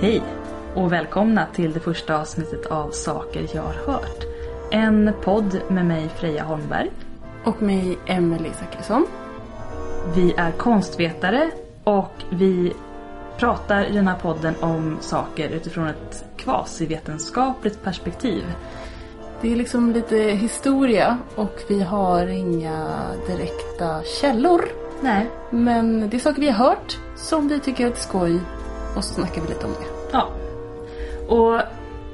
Hej och välkomna till det första avsnittet av Saker jag har hört. En podd med mig Freja Holmberg. Och mig, Emelie Zachrisson. Vi är konstvetare och vi pratar i den här podden om saker utifrån ett kvasivetenskapligt perspektiv. Det är liksom lite historia och vi har inga direkta källor. Nej. Men det är saker vi har hört som vi tycker är skoj och så snackar vi lite om det. Ja. Och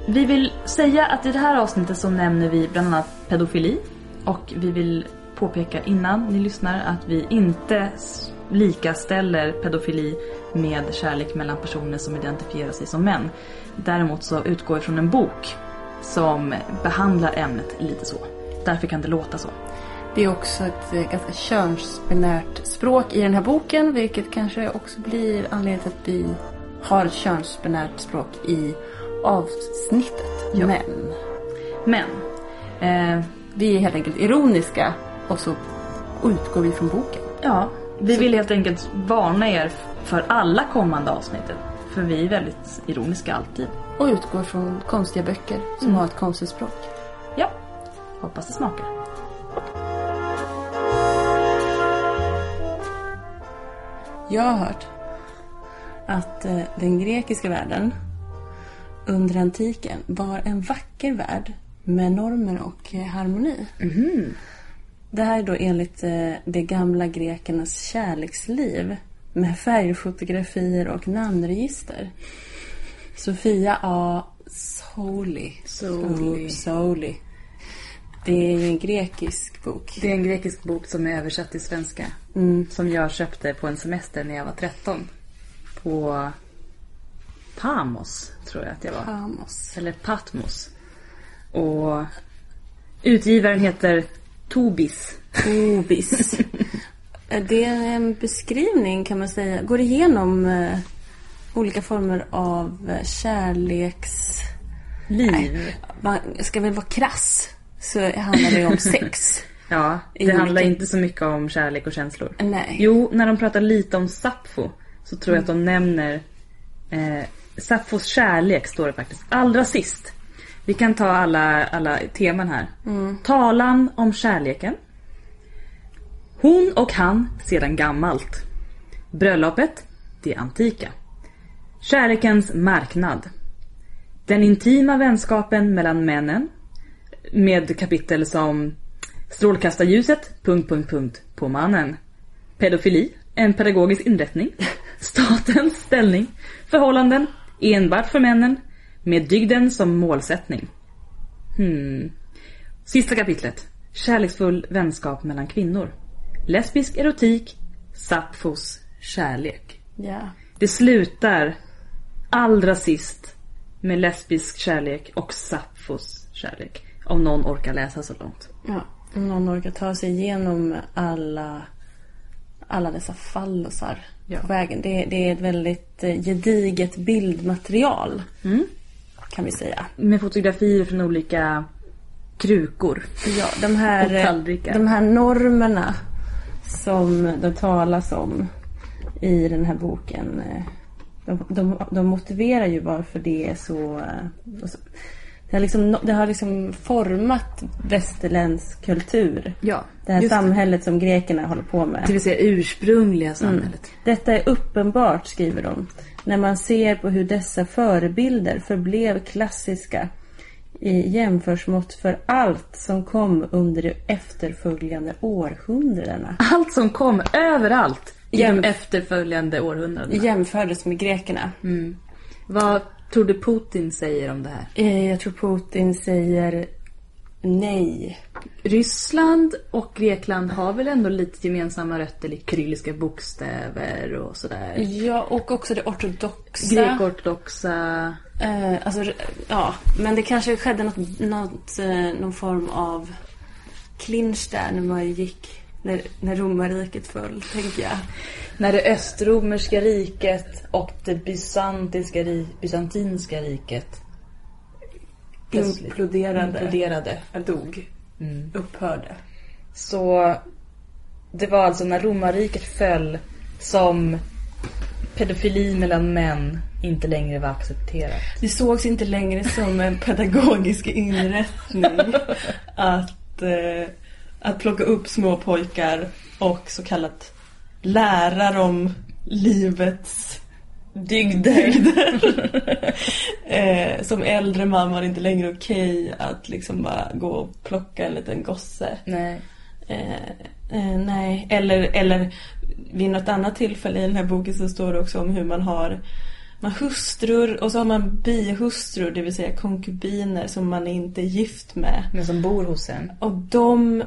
vi vill säga att i det här avsnittet så nämner vi bland annat pedofili och vi vill påpeka innan ni lyssnar att vi inte s- likaställer pedofili med kärlek mellan personer som identifierar sig som män. Däremot så utgår vi från en bok som behandlar ämnet lite så. Därför kan det låta så. Det är också ett eh, ganska könsbinärt språk i den här boken vilket kanske också blir anledningen till att vi har ett könsbinärt språk i avsnittet. Ja. Men Men, eh, vi är helt enkelt ironiska och så utgår vi från boken. ja, vi Så- vill helt enkelt varna er f- för alla kommande avsnittet. För vi är väldigt ironiska alltid. Och utgår från konstiga böcker som har ett konstigt språk. Ja, hoppas det smakar. Jag har hört att eh, den grekiska världen under antiken var en vacker värld med normer och eh, harmoni. Det här är då enligt eh, de gamla grekernas kärleksliv med färgfotografier och namnregister. Sofia A. Soli. Soli. Soli. Det är ju en grekisk bok. Mm. Det är en grekisk bok som är översatt till svenska. Som jag köpte på en semester när jag var 13. På Pamos, tror jag att jag var. Pamos. Eller Patmos. Och utgivaren heter Tobis. Obis. Det är en beskrivning kan man säga. Går igenom eh, olika former av eh, kärleks... Liv. Man ska väl vara krass så handlar det om sex. Ja, det I handlar olika- inte så mycket om kärlek och känslor. Nej. Jo, när de pratar lite om Sappho så tror jag att de nämner eh, Sapphos kärlek står det faktiskt. Allra sist. Vi kan ta alla, alla teman här. Talan om kärleken. Hon och han sedan gammalt. Bröllopet, det antika. Kärlekens marknad. Den intima vänskapen mellan männen. Med kapitel som Strålkastarljuset, punkt, punkt, punkt, på mannen. Pedofili, en pedagogisk inrättning. Statens ställning. Förhållanden, enbart för männen. Med dygden som målsättning. Hmm. Sista kapitlet. Kärleksfull vänskap mellan kvinnor. Lesbisk erotik. Sapfos kärlek. Ja. Det slutar allra sist med lesbisk kärlek och Sapfos kärlek. Om någon orkar läsa så långt. ja. Om någon orkar ta sig igenom alla, alla dessa fallosar Ja. på vägen. Det, det är ett väldigt eh, gediget bildmaterial. Mm. Kan vi säga. Med fotografier från olika krukor. Ja, de här, Och tallrikar. de här normerna som det talas om i den här boken. eh, De, de, de motiverar ju varför det är så... eh, och så- Det har liksom, det har liksom format västerländsk kultur. Ja, det här just det. samhället som grekerna håller på med. Det vill säga ursprungliga samhället. Detta är uppenbart, skriver de, när man ser på hur dessa förebilder förblev klassiska i jämförsmått för allt som kom under de efterföljande århundradena. Allt som kom överallt i Jämf- de efterföljande århundradena. Jämfördes med grekerna. Vad tror du Putin säger om det här? Eh, Jag tror Putin säger nej. Ryssland och Grekland har väl ändå lite gemensamma rötter, lite kyrilliska bokstäver och sådär. Ja, och också det ortodoxa. Grekortodoxa. Eh, alltså, ja, men det kanske skedde något, något, eh, någon form av clinch där när man gick, när, när romarriket föll, tänker jag. När det östromerska riket och det bysantiska ri- bysantinska riket plötsligt Imploderade, imploderade. dog, upphörde. Så det var alltså när romarriket föll som pedofili mellan män inte längre var accepterat. Det sågs inte längre som en pedagogisk inrättning att, eh, att plocka upp små pojkar och så kallat lära dem livets Dygder. eh, som äldre man var det inte längre okej att liksom bara gå och plocka en liten gosse. Nej. Eh, eh, nej, eller, eller vid något annat tillfälle i den här boken så står det också om hur man har man har hustrur och så har man bihustrur, det vill säga konkubiner som man inte är gift med. Men som bor hos en. Och de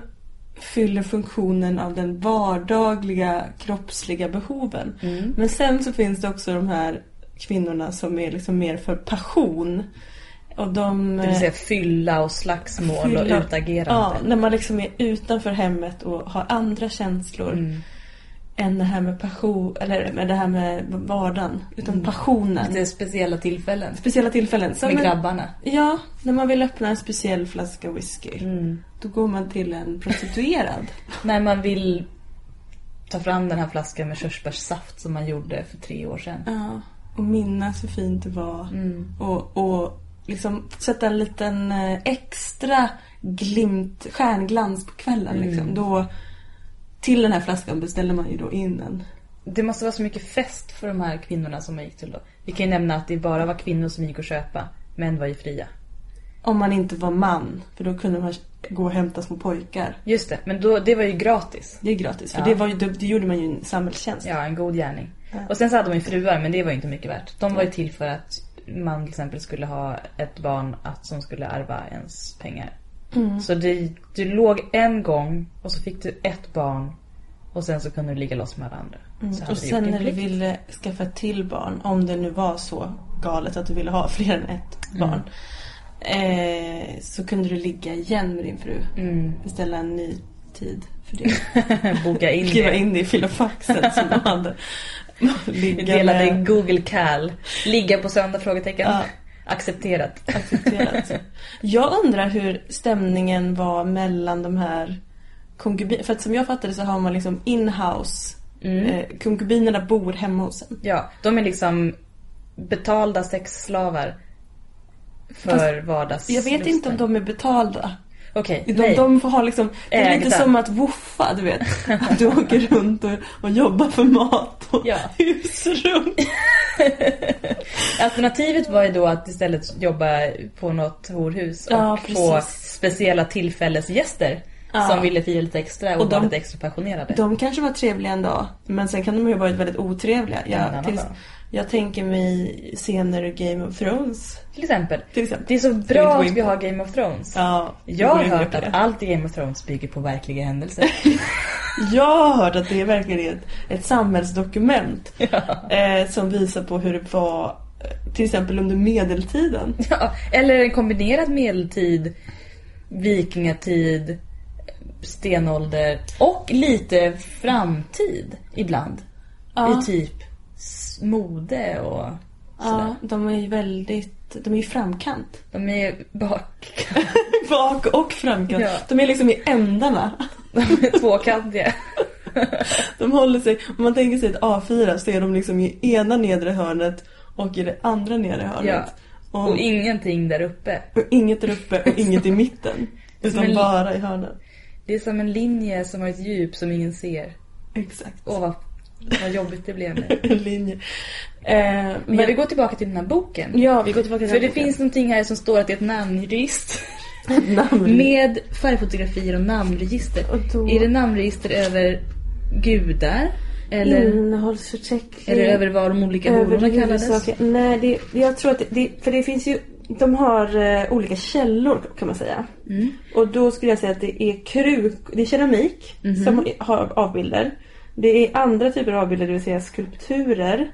fyller funktionen av den vardagliga kroppsliga behoven. Mm. Men sen så finns det också de här kvinnorna som är liksom mer för passion. Och de... Det vill säga fylla och slagsmål Fylla. och utagerande. Ja, när man liksom är utanför hemmet och har andra känslor Mm. än det här med passion, eller med det här med vardagen. Utan Mm. passionen. Lite speciella tillfällen. Speciella tillfällen. Som Med en, grabbarna. ja, när man vill öppna en speciell flaska whisky. Mm. Då går man till en prostituerad. När man vill ta fram den här flaskan med körsbärssaft som man gjorde för tre år sedan. ja, och minnas hur fint det var. Mm. Och, och liksom sätta en liten eh, extra glimt, stjärnglans på kvällen. Mm. Liksom. Då, till den här flaskan beställer man ju då in en. Det måste vara så mycket fest för de här kvinnorna som man gick till då. Vi kan ju nämna att det bara var kvinnor som gick och köpa. Män var ju fria. Om man inte var man, för då kunde man gå och hämta små pojkar. Just det, men då, det var ju gratis. Det är gratis, för Ja. det, var ju, det, det gjorde man ju en samhällstjänst. Ja, en god gärning. Ja. Och sen så hade de ju fruar, men det var ju inte mycket värt. De var ju till för att man till exempel skulle ha ett barn att, som skulle ärva ens pengar. Mm. Så du, du låg en gång och så fick du ett barn och sen så kunde du ligga loss med alla andra. Så hade Mm. du Och sen gjort när din du plikt. ville skaffa ett till barn, om det nu var så galet att du ville ha fler än ett barn. Eh, så kunde du ligga igen med din fru. Mm. Beställa en ny tid för det. Boka in Skriva det. in det i filofaxen som de hade. Ligga Delade med- Google Cal. Ligga på söndag? Frågetecken. eh, Ja. Accepterat. accepterat. Jag undrar hur stämningen var mellan de här konkubinerna. För att som jag fattade så har man liksom in-house. Mm. Eh, konkubinerna bor hemma hos en. Ja, de är liksom betalda sexslavar för Fast vardags... Jag vet inte om de är betalda. Okej, De, nej. de får ha liksom, det är lite Ägda. som att woofa, du vet. Att du åker runt och, och jobbar för mat och Ja. husrum. Alternativet var ju då att istället jobba på något horhus och Ja, få precis. speciella tillfällesgäster Ja. som ville fira lite extra och, Och var de- lite extra passionerade. De kanske var trevliga en dag, men sen kan de ju ha varit väldigt otrevliga. En annan Jag, till, dag. jag tänker mig scener ur Game of Thrones, Till exempel. till exempel. Det är så vi inte bra gå att in vi på? har Game of Thrones. Ja, Jag har hört det. att allt i Game of Thrones bygger på verkliga händelser. Jag har hört att det är verkligen ett, ett samhällsdokument eh, som visar på hur det var eh, till exempel under medeltiden. Ja, eller en kombinerad medeltid, vikingatid, stenålder och lite framtid ibland. I typ s- mode och sådär. ja de är ju väldigt, de är i framkant. De är bak... Bak och framkant. Ja. De är liksom i ändarna. De är tvåkantiga. De håller sig, om man tänker sig ett A4 så är de liksom i ena nedre hörnet och i det andra nedre hörnet. Och, Och ingenting där uppe. och inget där uppe och inget i mitten. Utan Men- bara i hörnen. Det är som en linje som har ett djup som ingen ser. Exakt. Åh, vad, vad jobbigt det blev nu. En linje. Eh, Men jag vill men, gå tillbaka till den här boken. ja, vi går tillbaka till För den det boken. finns någonting här som står att det är ett namnregister. namn. Med färgfotografier och namnregister. Och då- Är det namnregister över gudar? Eller, Innehållsförteckning. eller över vad de olika Mm. Över hororna kallades? huvudsaker. Nej, det, det- jag tror att det, det, för det finns ju, de har eh, olika källor kan man säga. Mm. Och då skulle jag säga att det är kruk, det är keramik som har avbilder. Det är andra typer av avbilder, det vill säga skulpturer.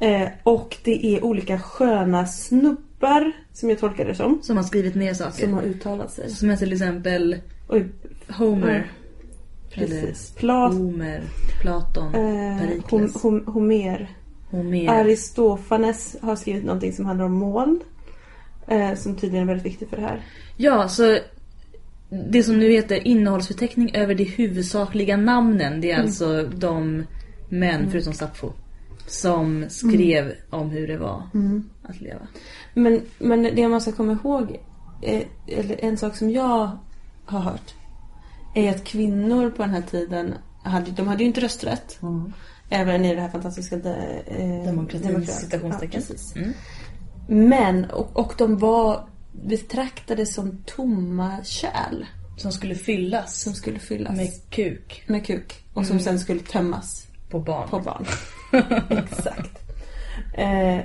Eh, och det är olika sköna snubbar, som jag tolkar det som, Som har skrivit ner saker. som Som, har uttalat sig. är till exempel Oj, Homer. Eller precis. Plat, Homer, Platon, eh, hom, Perikles, hom, Homer. Homer. Aristofanes har skrivit någonting som handlar om moln. Eh, som tydligen är väldigt viktigt för det här. Ja, så det som nu heter Mm. innehållsförteckning över de huvudsakliga namnen, det är alltså de män förutom Sappho som skrev Mm. om hur det var att leva. Men, men det man ska komma ihåg, eh, eller en sak som jag har hört, är att kvinnor på den här tiden, hade, de hade ju inte rösträtt. Även i det här fantastiska de, eh, Demokratin, citationstecken. Ja, precis. Mm. Men, och, och de var betraktade som tomma kärl Som skulle fyllas som skulle fyllas med, med kuk med kuk och som sen skulle tömmas på barn. på barn. Exakt. Eh,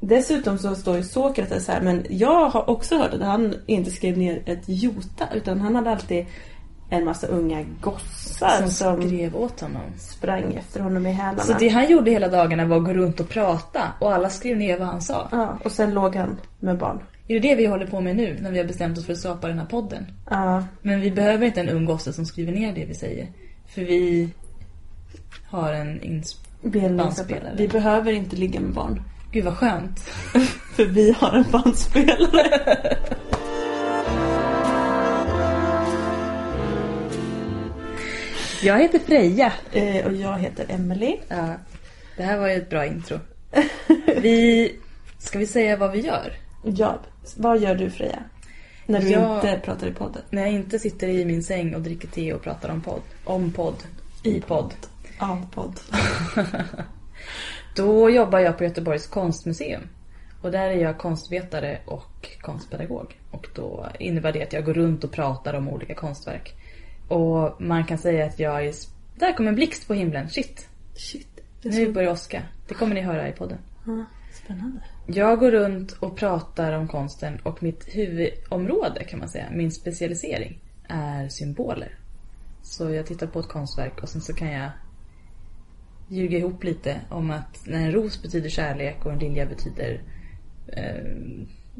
dessutom så står ju Sokrates här, men jag har också hört att han inte skrev ner ett jota utan han hade alltid en massa unga gossar som, som, skrev åt honom. sprang efter honom i hälarna. Så det han gjorde hela dagarna var att gå runt och prata och alla skrev ner vad han sa. ja, och sen låg han med barn. Är det det vi håller på med nu när vi har bestämt oss för att skapa den här podden? Ja, Men vi behöver inte en ung gosse som skriver ner det vi säger. För vi har en ins... Bandspelare. vi behöver inte ligga med barn. Gud vad skönt. För vi har en bandspelare. Jag heter Freja. Eh, och jag heter Emily. Ja, det här var ju ett bra intro. Vi... Ska vi säga vad vi gör? Ja, vad gör du Freja? När du Jag- inte pratar i podden. När jag inte sitter i min säng och dricker te och pratar om podd. Om podd. I podd. Ja, podd. Då jobbar jag på Göteborgs konstmuseum. Och där är jag konstvetare och konstpedagog. Och då innebär det att jag går runt och pratar om olika konstverk. Och man kan säga att jag är... Där kom en blixt på himlen. Shit, Shit, det är så nu börjar det åska. Det kommer ni höra i podden. Ja, spännande. Jag går runt och pratar om konsten och mitt huvudområde kan man säga, min specialisering, är symboler. Så jag tittar på ett konstverk och sen så kan jag ljuga ihop lite om att när en ros betyder kärlek och en lilja betyder eh,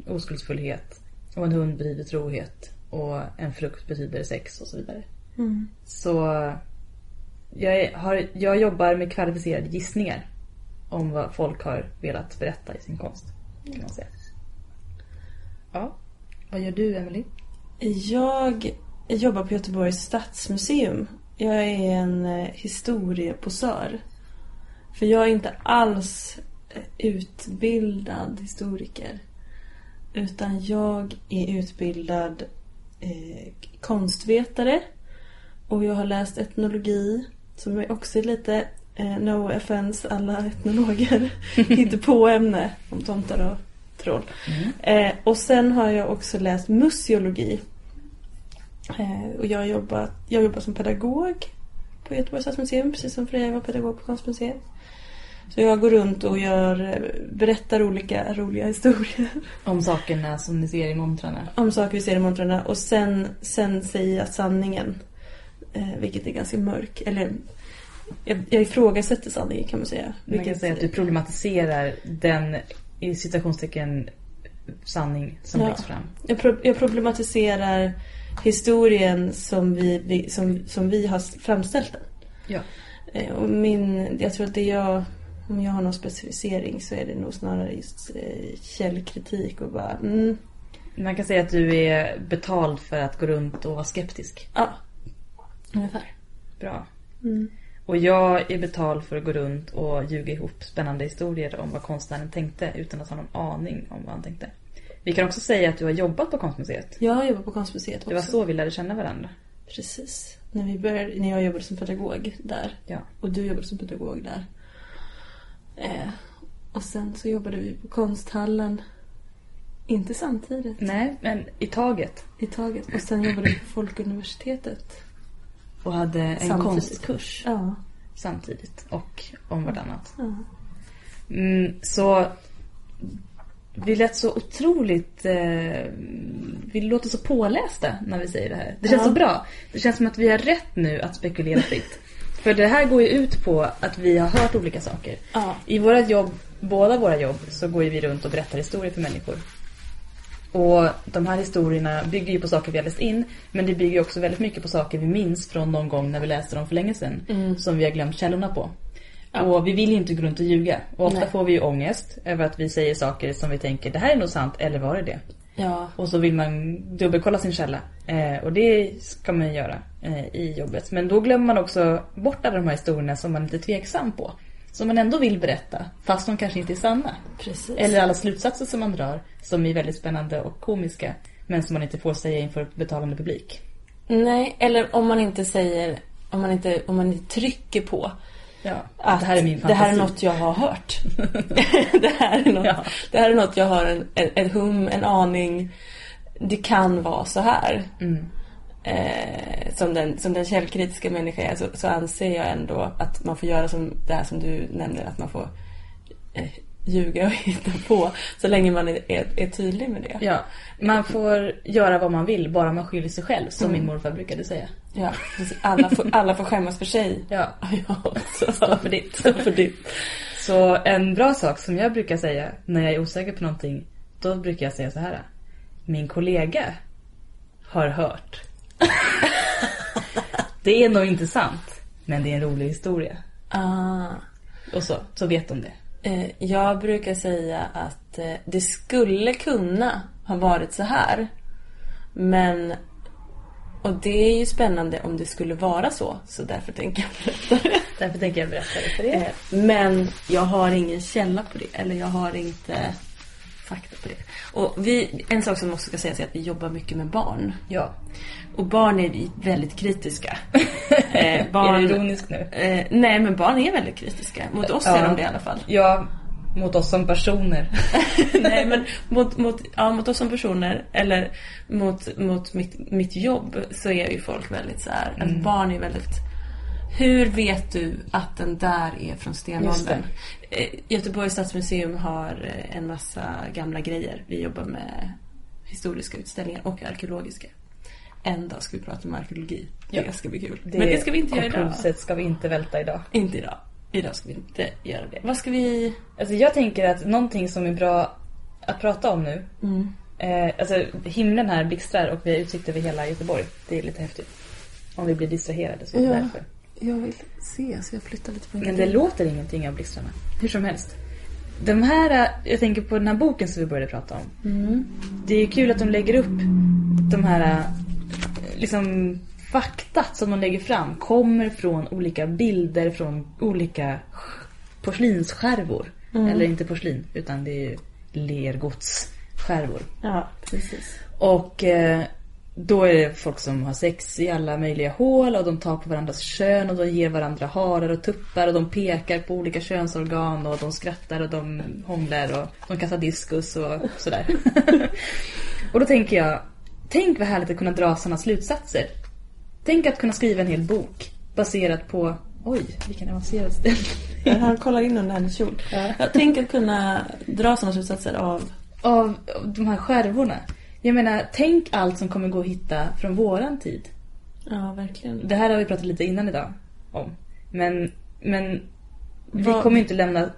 oskuldsfullhet och en hund betyder trohet och en frukt betyder sex och så vidare. Så jag, är, har, jag jobbar med kvalificerade gissningar om vad folk har velat berätta i sin konst. Kan man säga. Ja. Vad gör du, Emily? Jag jobbar på Göteborgs stadsmuseum. Jag är en eh, historieposör. För jag är inte alls eh, utbildad historiker. Utan jag är utbildad eh, konstvetare. Och jag har läst etnologi. Som är också är lite eh, no offense alla etnologer. inte på ämne om tomtar och troll. Mm. Eh, och sen har jag också läst museologi. Eh, och jag har jobbat, jag jobbar som pedagog på Göteborgs stadsmuseum, precis som Freja var pedagog på Konstmuseet. Så jag går runt och gör, berättar olika roliga historier Om sakerna som ni ser i montrarna. om saker vi ser i montrarna och sen, sen säger jag sanningen. Eh, vilket är ganska mörk. Eller jag, jag ifrågasätter sanningen kan man säga. Man kan Vilket- säga att du problematiserar den i citationstecken sanning som Ja. läggs fram. Jag, pro- jag problematiserar historien som vi, vi, som, som vi har s- framställt den. Ja. Eh, Och min, jag tror att det jag, om jag har någon specificering så är det nog snarare just eh, källkritik och bara mm, Man kan säga att du är betald för att gå runt och vara skeptisk. ja. Ungefär. Bra. Mm. Och jag är betald för att gå runt och ljuga ihop spännande historier om vad konstnären tänkte utan att ha någon aning om vad han tänkte. Vi kan också säga att du har jobbat på Konstmuseet. Jag jobbar på Konstmuseet Det var också. så vi lärde känna varandra. Precis. När, vi började, när jag jobbade som pedagog där Ja. och du jobbade som pedagog där. Eh, och sen så jobbade vi på konsthallen. Inte samtidigt. Nej, men i taget. i taget. Och sen jobbade jag på Folkuniversitetet. Och hade en Samtidigt. konstkurs Ja. samtidigt och om vartannat. ja. Mm, så vi lät så otroligt... Eh, vi låter så pålästa när vi säger det här. Det känns Ja. så bra. Det känns som att vi har rätt nu att spekulera fritt. För det här går ju ut på att vi har hört olika saker. Ja. I våra jobb, båda våra jobb, så går ju vi runt och berättar historier för människor. Och de här historierna bygger ju på saker vi har läst in, men det bygger ju också väldigt mycket på saker vi minns från någon gång när vi läste dem för länge sedan, som vi har glömt källorna på. Och vi vill ju inte gå runt och ljuga. Och ofta Nej. får vi ju ångest över att vi säger saker som vi tänker, det här är nog sant, eller var det det? ja. Och så vill man dubbelkolla sin källa. Eh, och det ska man ju göra eh, i jobbet. Men då glömmer man också bort alla de här historierna som man är lite tveksam på. som man ändå vill berätta fast de kanske inte är sanna. Precis. Eller alla slutsatser som man drar som är väldigt spännande och komiska men som man inte får säga inför betalande publik. Nej, eller om man inte säger, om man inte, om man inte trycker på Ja, att det här är min det fantasi. här är något jag har hört. det, här är något, Ja. det här är något jag har en, en, en hum, en aning. Det kan vara så här. Mm. Eh, som, den, som den källkritiska människa jag är så, så anser jag ändå att man får göra som det här som du nämnde, att man får eh, ljuga och hitta på så länge man är, är, är tydlig med det. Ja, man får göra vad man vill bara man skyller sig själv som Mm. min morfar brukade säga. Ja, precis. alla, får, alla får skämmas för sig. Ja. Ja, Stå för ditt. så för ditt. Så en bra sak som jag brukar säga när jag är osäker på någonting, då brukar jag säga så här. Min kollega har hört. det är nog inte sant, men det är en rolig historia. Ah. Och så, så vet de det. Eh, Jag brukar säga att eh, det skulle kunna ha varit så här. Men... Och det är ju spännande om det skulle vara så, så därför tänker jag berätta det. Därför tänker jag berätta det för er. Eh, Men jag har ingen källa på det, eller jag har inte fakta på det. Och vi, en sak som också ska sägas är att vi jobbar mycket med barn. Ja. Och barn är ju väldigt kritiska. Eh, Är det barn, ironiskt nu? eh, nej, men barn är väldigt kritiska. Mot oss är Ja. de det i alla fall. Ja, mot oss som personer. Nej men mot, mot, ja, mot oss som personer eller mot, mot mitt, mitt jobb så är ju folk väldigt så här. Mm. Att barn är väldigt... Hur vet du att den där är från Just det. stenåldern? Eh, Göteborgs stadsmuseum har eh, en massa gamla grejer. Vi jobbar med historiska utställningar och arkeologiska. En dag ska vi prata om arkeologi. Ja. Det ska bli kul. men det ska vi inte göra idag. Konkurset ska vi inte välta idag. Inte idag. Idag ska vi inte göra det. Vad ska vi... Alltså jag tänker att någonting som är bra att prata om nu. Mm. Eh, alltså himlen här blixtrar och vi har utsikt över hela Göteborg. Det är lite häftigt. Om vi blir distraherade så är det Ja. därför. Jag vill se så jag flyttar lite på Men det låter ingenting av blixtarna. Hur som helst. De här, eh, jag tänker på den här boken som vi började prata om. Det är ju kul att de lägger upp de här eh, liksom faktat som de lägger fram kommer från olika bilder från olika sk- porslinsskärvor. Eller inte porslin, utan det är ju lergodsskärvor. Ja, precis. Och eh, då är det folk som har sex i alla möjliga hål och de tar på varandras kön och de ger varandra harar och tuppar och de pekar på olika könsorgan och de skrattar och de hånglar och de kastar diskus och sådär. och då tänker jag, tänk vad härligt att kunna dra sådana slutsatser. Tänk att kunna skriva en hel bok baserat på, oj vilken avancerad ställning. Han kollar in under hennes kjol. Ja. Jag tänker kunna dra sådana slutsatser av... av av de här skärvorna. Jag menar, tänk allt som kommer gå att hitta från våran tid. Ja, verkligen. Det här har vi pratat lite innan idag om. Men, men vi Vad- kommer ju inte lämna...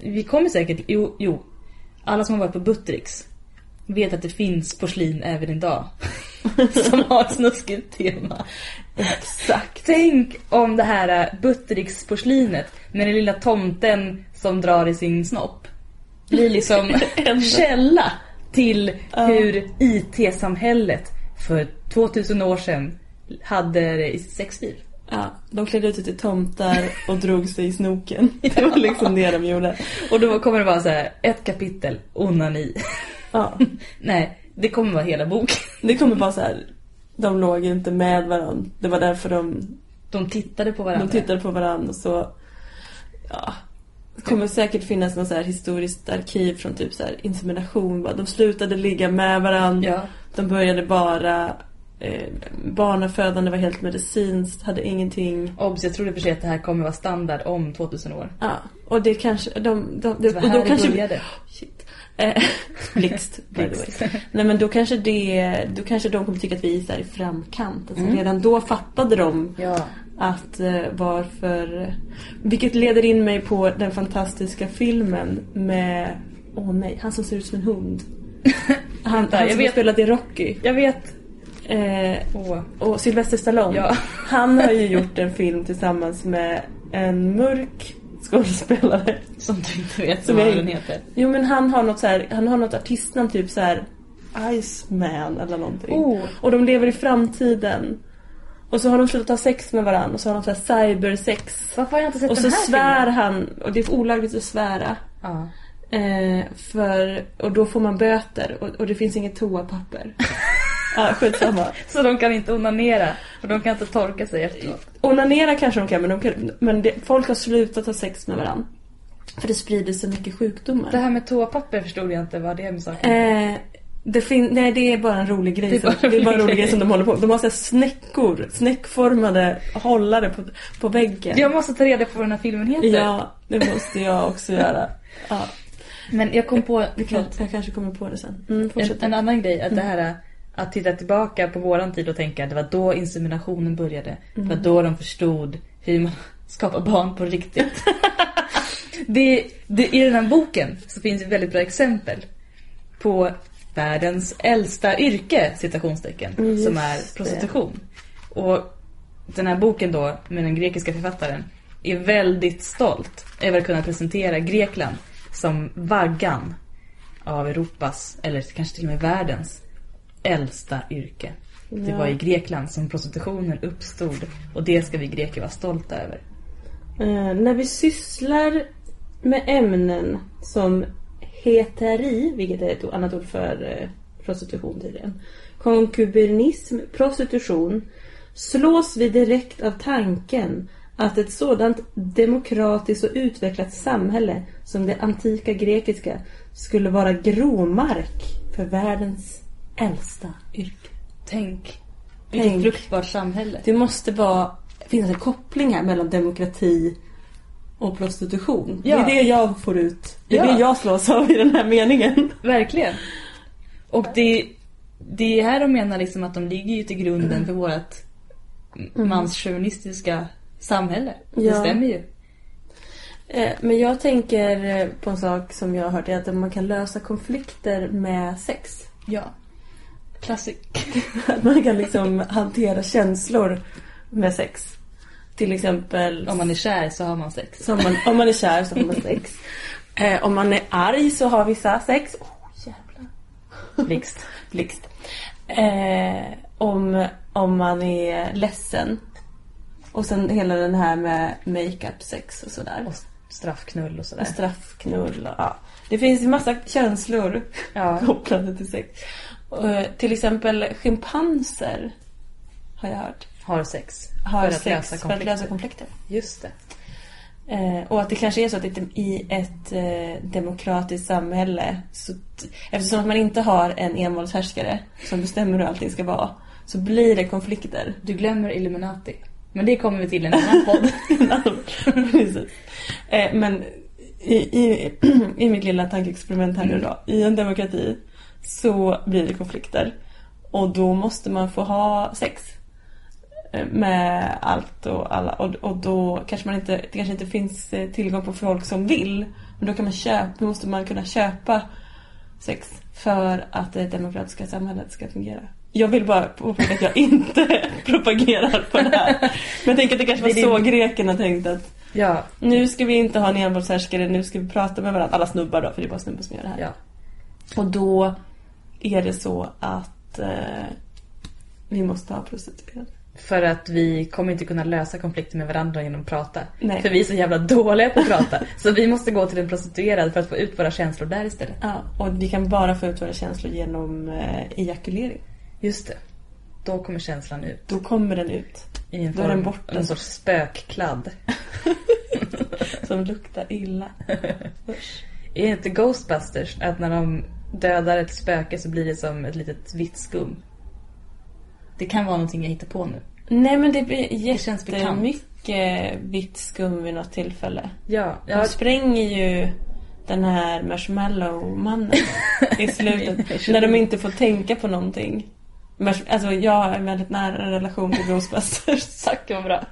Vi kommer säkert... Jo, jo. Alla som har varit på Buttericks vet att det finns porslin även idag. som har ett snuskigt tema. Exakt. Tänk om det här eh, Buttericks-porslinet med den lilla tomten som drar i sin snopp blir liksom en källa till hur IT-samhället för 2000 år sedan hade det i sitt sexliv. Ja, de klädde ut sig till tomtar och drog sig i snoken. Det var liksom det de gjorde. Och då kommer det vara så här, ett kapitel, onani. Ja, Nej, det kommer vara hela boken. det kommer bara så här. De låg inte med varandra. Det var därför de, De tittade på varandra. de tittade på varandra och så... Ja. Det kommer säkert finnas något så här historiskt arkiv från typ så här insemination. bara, De slutade ligga med varandra. Ja. De började bara... Eh, barnafödande var helt medicinskt, hade ingenting... Obs, jag tror i och för sig att det här kommer vara standard om 2000 år. Ja, och det kanske... De, de, Det det, var och här då det kanske... började. Shit. Eh, Blixt, by the Blixt. way. Nej men då kanske, det, då kanske de kommer tycka att vi är så här i framkant. Alltså, Mm. Redan då fattade de Ja. att eh, varför... Vilket leder in mig på den fantastiska filmen med... Åh nej, han som ser ut som en hund. Han, Vänta, han jag som har vet. spelat i Rocky. Jag vet. Eh, Åh. och Sylvester Stallone. Ja. Han har ju gjort en film tillsammans med en mörk skådespelare. Som du inte vet Som vad jag- den heter. Jo men han har något så här, han har något artistnamn typ så här Iceman eller någonting. Oh. Och de lever i framtiden. Och så har de slutat ha sex med varandra och så har de så här cybersex. Varför har jag inte sett Och den så här svär filmen? han, och det är olagligt att svära. Ja. Eh, för, och då får man böter och, och det finns inget toapapper. ja, skitsamma. Så de kan inte onanera, för de kan inte torka sig efteråt. Onanera kanske de kan men, de kan, men det, folk har slutat ha sex med varandra. För det sprider så mycket sjukdomar. Det här med toapapper förstod jag inte vad det är med saken. Eh, det fin- nej det är bara en rolig grej. Det är som, bara en det är bara en rolig rolig grej grej. som de håller på De har så här snäckor, snäckformade hållare på, på väggen. Jag måste ta reda på vad den här filmen heter. ja, det måste jag också göra. Ja, Men jag kom på det kan, jag kanske kommer på det sen. Mm, en, fortsätt. en annan grej, att det här att titta tillbaka på våran tid och tänka det var då inseminationen började. Det var då de förstod hur man skapar barn på riktigt. det, det, I den här boken så finns det väldigt bra exempel på världens äldsta yrke, citationstecken, Mm, Just som är prostitution. Och den här boken då, med den grekiska författaren, är väldigt stolt över att kunna presentera Grekland som vaggan av Europas, eller kanske till och med världens, äldsta yrke. Det Ja. var i Grekland som prostitutionen uppstod och det ska vi greker vara stolta över. Eh, när vi sysslar med ämnen som heteri, vilket är ett annat ord för eh, prostitution tydligen, konkubernism, prostitution, slås vi direkt av tanken att ett sådant demokratiskt och utvecklat samhälle som det antika grekiska skulle vara gråmark för världens äldsta yrke. Tänk, vilket Tänk. fruktbart samhälle. Det måste vara, finnas en koppling här mellan demokrati och prostitution. Ja. Det är det jag får ut. Det är Ja. det jag slås av i den här meningen. Verkligen. Och det, det är här de menar liksom att de ligger ju till grunden för vårt Mm. manschauvinistiska samhälle. Det Ja. stämmer ju. Eh, Men jag tänker eh, på en sak som jag har hört, är att man kan lösa konflikter med sex. Ja. Klassik. Att man kan liksom hantera känslor med sex. Till exempel Om man är kär så har man sex. som man, om man är kär så har man sex. Eh, om man är arg så har vissa sex. Oh, jävlar. Blixt. Blixt. Eh, om, om man är ledsen. Och sen hela den här med makeup sex och sådär. Och straffknull och sådär. Och straffknull och, ja. Det finns ju massa känslor Ja. kopplade till sex. Eh, till exempel schimpanser har jag hört. Har sex. Har för att sex lösa för att konflikter. lösa konflikter. Just det. Eh, och att det kanske är så att det, i ett eh, demokratiskt samhälle, så, t- eftersom att man inte har en envåldshärskare som bestämmer hur allting ska vara, så blir det konflikter. Du glömmer Illuminati. Men det kommer vi till i en annan podd. Precis. Eh, men i, i, i mitt lilla tankeexperiment här nu då, i en demokrati så blir det konflikter. Och då måste man få ha sex eh, med allt och alla och, och då kanske man inte, det kanske inte finns eh, tillgång på folk som vill men då kan man köpa, då måste man kunna köpa sex för att det demokratiska samhället ska fungera. Jag vill bara påpeka att jag inte propagerar på det här. Men jag tänker att det kanske var Det är så din- grekerna tänkte att ja. nu ska vi inte ha en envåldshärskare, nu ska vi prata med varandra. Alla snubbar då, för det är bara snubbar som gör det här. ja. Och då är det så att eh, vi måste ha prostituerade. För att vi kommer inte kunna lösa konflikter med varandra genom att prata. Nej. För vi är så jävla dåliga på att prata. så vi måste gå till en prostituerad för att få ut våra känslor där istället. Ja, och vi kan bara få ut våra känslor genom eh, ejakulering. Just det. Då kommer känslan ut. Då kommer den ut I en Då är den form, borta. en sorts spökkladd. som luktar illa. Usch. Är inte Ghostbusters att när de dödar ett spöke så blir det som ett litet vitt skum? Det kan vara någonting jag hittar på nu. Nej men det blir känns bekant. jättemycket vitt skum vid något tillfälle. Ja, De spränger ju den här marshmallow-mannen i slutet. när de inte får tänka på någonting. Marsh- Alltså jag har en väldigt nära relation till Ghostbusters. Tack vad bra.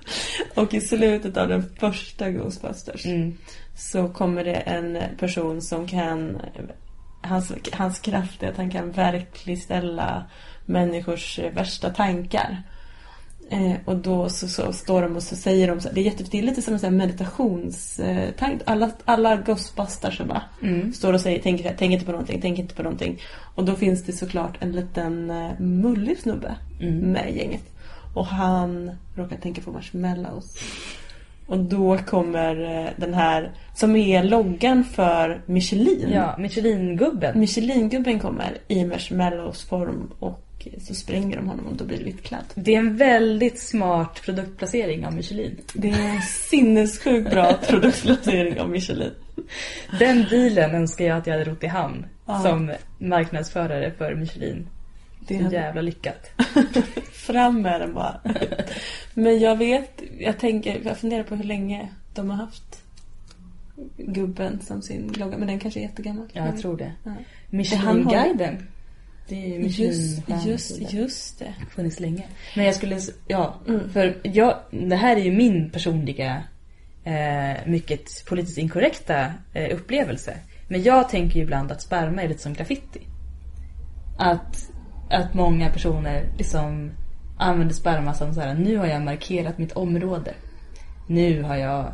Och i slutet av den första Ghostbusters Mm. så kommer det en person som kan... Hans, hans kraft är att han kan verkligställa människors eh, värsta tankar. Eh, och då så, så står de och så säger de så här, det är jättefint, det är lite som en sån här meditationstank. Alla, alla Ghostbusters va? Mm. Står och säger, tänk, tänk inte på någonting, tänk inte på någonting. Och då finns det såklart en liten eh, mullig snubbe Mm. med i gänget. Och han råkar tänka på marshmallows. Och då kommer eh, den här, som är loggan för Michelin. Ja, Michelin-gubben. Michelingubben kommer i marshmallows form och så spränger de honom och då blir vitklädd. Det är en väldigt smart produktplacering av Michelin. Det är en sinnessjukt bra produktplacering av Michelin. Den dealen önskar jag att jag hade rott i hamn Ja. som marknadsförare för Michelin. Det Så är jävla lyckat. Fram med den bara. Men jag vet, jag tänker, jag funderar på hur länge de har haft gubben som sin logga. Men den kanske är jättegammal. Ja, jag tror det. Ja. Michelin-guiden. Det är ju Just, Michelin-stjärnor. just, just det. funnits länge. Men jag skulle, s- ja, Mm. för jag, det här är ju min personliga eh, mycket politiskt inkorrekta eh, upplevelse. Men jag tänker ju ibland att sperma är lite som graffiti. Att, att många personer liksom använder sperma som så här, nu har jag markerat mitt område. Nu har jag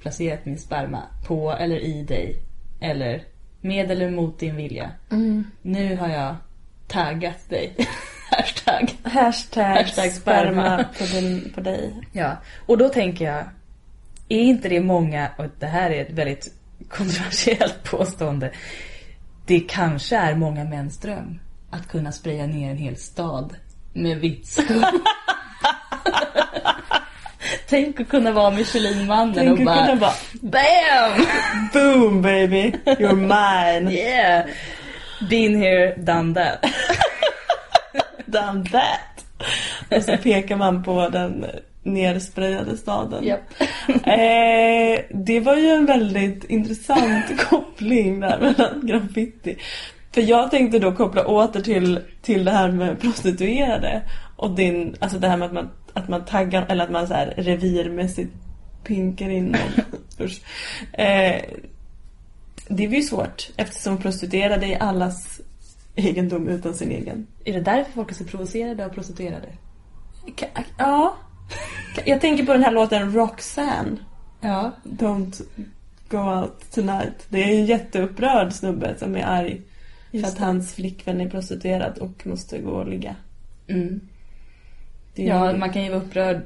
placerat min sperma på eller i dig. Eller med eller mot din vilja. Mm. Nu har jag taggat dig. Hashtag. Hashtag, Hashtag sperma. sperma på, din, på dig. Ja, och då tänker jag, är inte det många, och det här är ett väldigt kontroversiellt påstående, det kanske är många mäns dröm att kunna spraya ner en hel stad med vitt skum. Tänk att kunna vara Michelinmannen och Tänk att kunna bara bara BAM! boom baby, you're mine. Yeah! Been here, done that. Done that. Och så pekar man på den nersprejade staden. Eh, det var ju en väldigt intressant koppling där mellan graffiti. För jag tänkte då koppla åter till, till det här med prostituerade och din, alltså det här med att man, att man taggar eller att man så här revirmässigt pinkar in någon. Usch. eh, det var ju svårt eftersom prostituerade är allas egendom utan sin egen. Är det därför folk är så provocerade av prostituerade? Ka- Ja. Jag tänker på den här låten Roxanne. Ja. Don't go out tonight. Det är en jätteupprörd snubbe som är arg för att hans flickvän är prostituerad och måste gå och ligga. Mm. Det är Ja, man kan ju vara upprörd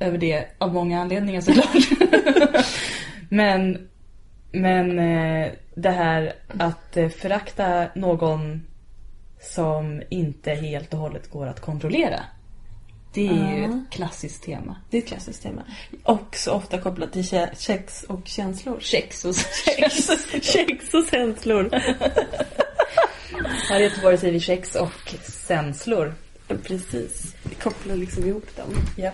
över det av många anledningar såklart. men men eh, det här att eh, förakta någon som inte helt och hållet går att kontrollera. Det är ju Ja. ett klassiskt tema. det är ett klassiskt tema. Också ofta kopplat till ke- sex och känslor. Sex och Sex, sex och känslor. Här i Göteborg säger vi sex och senslor. Precis. Vi kopplar liksom ihop dem. Ja.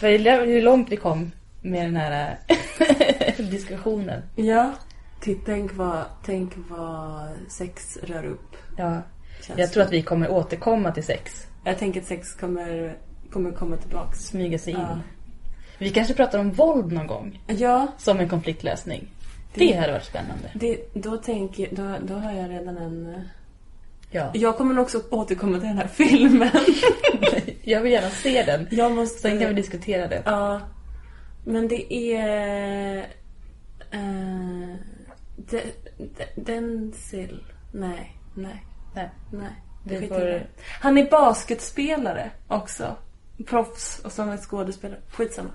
För jag lär- hur långt vi kom med den här eh, diskussionen. Ja. Titta, tänk vad, tänk vad sex rör upp. Ja. känslor. Jag tror att vi kommer återkomma till sex. jag tänker att sex kommer, kommer komma tillbaks. smyga sig in. Ja. Vi kanske pratar om våld någon gång Ja, som en konfliktlösning. Det, Det- hade varit spännande. det, då, tänker, då, då har jag redan en... eh, Ja. Jag kommer nog också återkomma till den här filmen. Jag vill gärna se den. Jag måste... Sen kan vi diskutera det. Ja. Men det är... eh, de, de, Denzil. Nej, nej, Nej. nej. Vi Skit i får- det. Han är basketspelare också. Proffs och som är skådespelare. Skitsamma.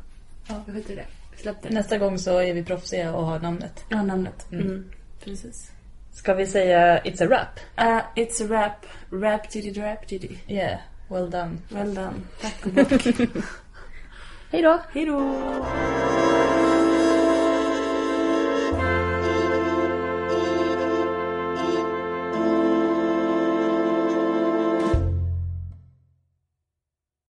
Ja, vi skiter i det. Vi släppte det. Nästa gång så är vi proffsiga och har namnet. Ja, namnet. Mm. Mm. Precis. Ska vi säga It's a wrap? Eh, it's a rap. Rap diddy rap diddy. Yeah, well done. Well done. Tack och bock. Hej då! Hej då!